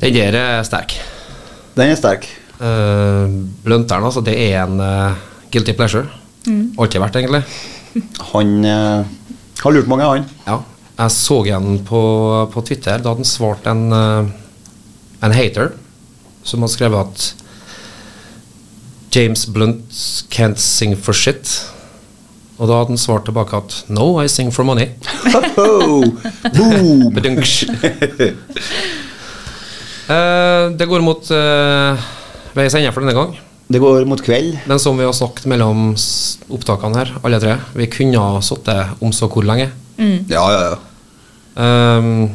Den der er sterk.
Den er sterk.
Eh, Blunteren, altså, det er en eh, guilty pleasure. Alltid vært, egentlig.
Han eh, har lurt mange, han.
Ja. Jeg så igjen på, på Twitter. Da hadde han svart en, eh, en hater som hadde skrevet at James Blunt can't sing for shit. Og da hadde han svart tilbake at No, I sing for money.
Ho-ho! Boom!
Bedunks. Eh, det går mot eh, veis ende for denne gang.
Det går mot kveld.
Men som vi har snakket mellom s- opptakene her, alle tre, vi kunne ha sittet om så hvor lenge.
Mm. Ja, ja, ja.
Um,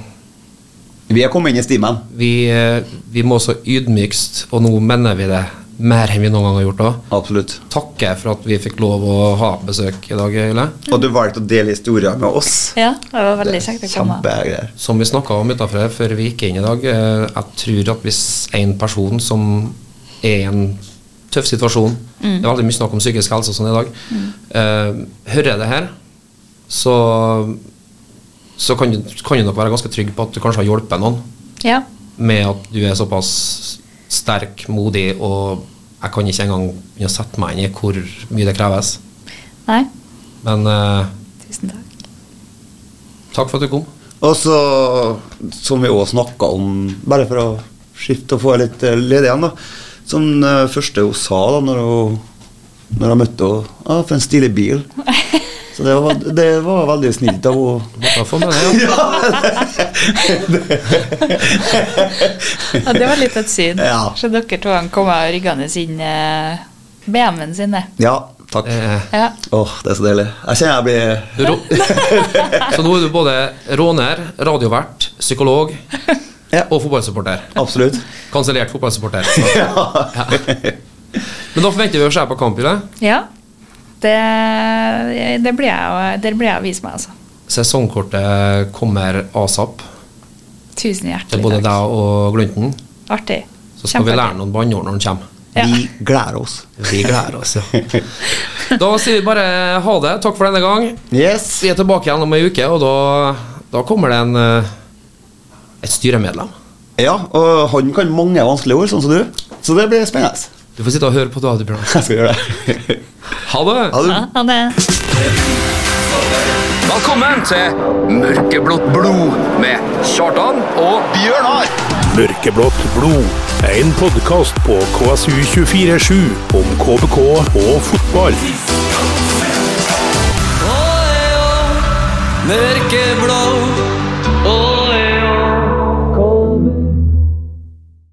Vi er kommet inn i stimen.
vi, eh, vi må så ydmykst, og nå mener vi det mer enn vi noen gang har gjort òg,
Absolutt.
takke for at vi fikk lov å ha besøk i dag, Øyle.
Og du valgte å dele historier med oss.
Ja, det var veldig kjekt å komme.
Kjempegreier.
Som vi snakka om utenfor her før vi gikk inn i dag, eh, jeg tror at hvis en person som er i en tøff situasjon Det er veldig mye snakk om psykisk helse og sånn i dag. eh, hører det her, så så kan du, kan du nok være ganske trygg på at du kanskje har hjulpet noen.
Ja.
med at du er såpass sterk, modig, og jeg kan ikke engang begynne å sette meg inn i hvor mye det kreves.
Nei,
Men eh,
tusen takk.
takk for at du kom.
Og så, som vi òg snakka om, bare for å skifte og få litt eh, ledig igjen, da Som eh, første hun sa da når hun når jeg møtte henne. Ja, for en stilig bil. Så det var, det var veldig snilt av henne.
Da får man det, ja.
Ja, det var litt et syn.
Ja.
Så dere to kommer ryggende inn eh, BMW-en sin. det.
Ja, takk. Åh,
Eh,
Ja.
det er så deilig. Jeg kjenner jeg blir
rå så nå er du både råner, radiovert, psykolog
Ja.
og fotballsupporter.
Absolutt.
Kansellert fotballsupporter. Så.
Ja.
Men da forventer vi å se på kamp i dag.
ja. Det, det blir jeg, å- der blir jeg å vise meg, altså.
Sesongkortet kommer asap
Tusen
til
hjertelig
både
takk.
deg og Glunten.
Artig.
Så skal vi
Kjempeartig.
lære noen banneord når han kommer.
Ja.
Vi gleder oss.
Vi gleder oss, ja. Da sier vi bare ha det. Takk for denne gang.
Yes.
Vi er tilbake igjen om ei uke, og da, da kommer det en, eh, et styremedlem.
Ja, og han kan mange vanskelige ord, sånn som du. Så det blir spennende.
Du får sitte og høre på radiobjørnen.
Jeg skal gjøre det.
Ha det!
Ha det.
Ja, ha det.
Velkommen til Mørkeblått blod med Kjartan og Bjørnar.
Mørkeblått blod. En podkast på KSU247 om KBK og fotball.
Mørkeblå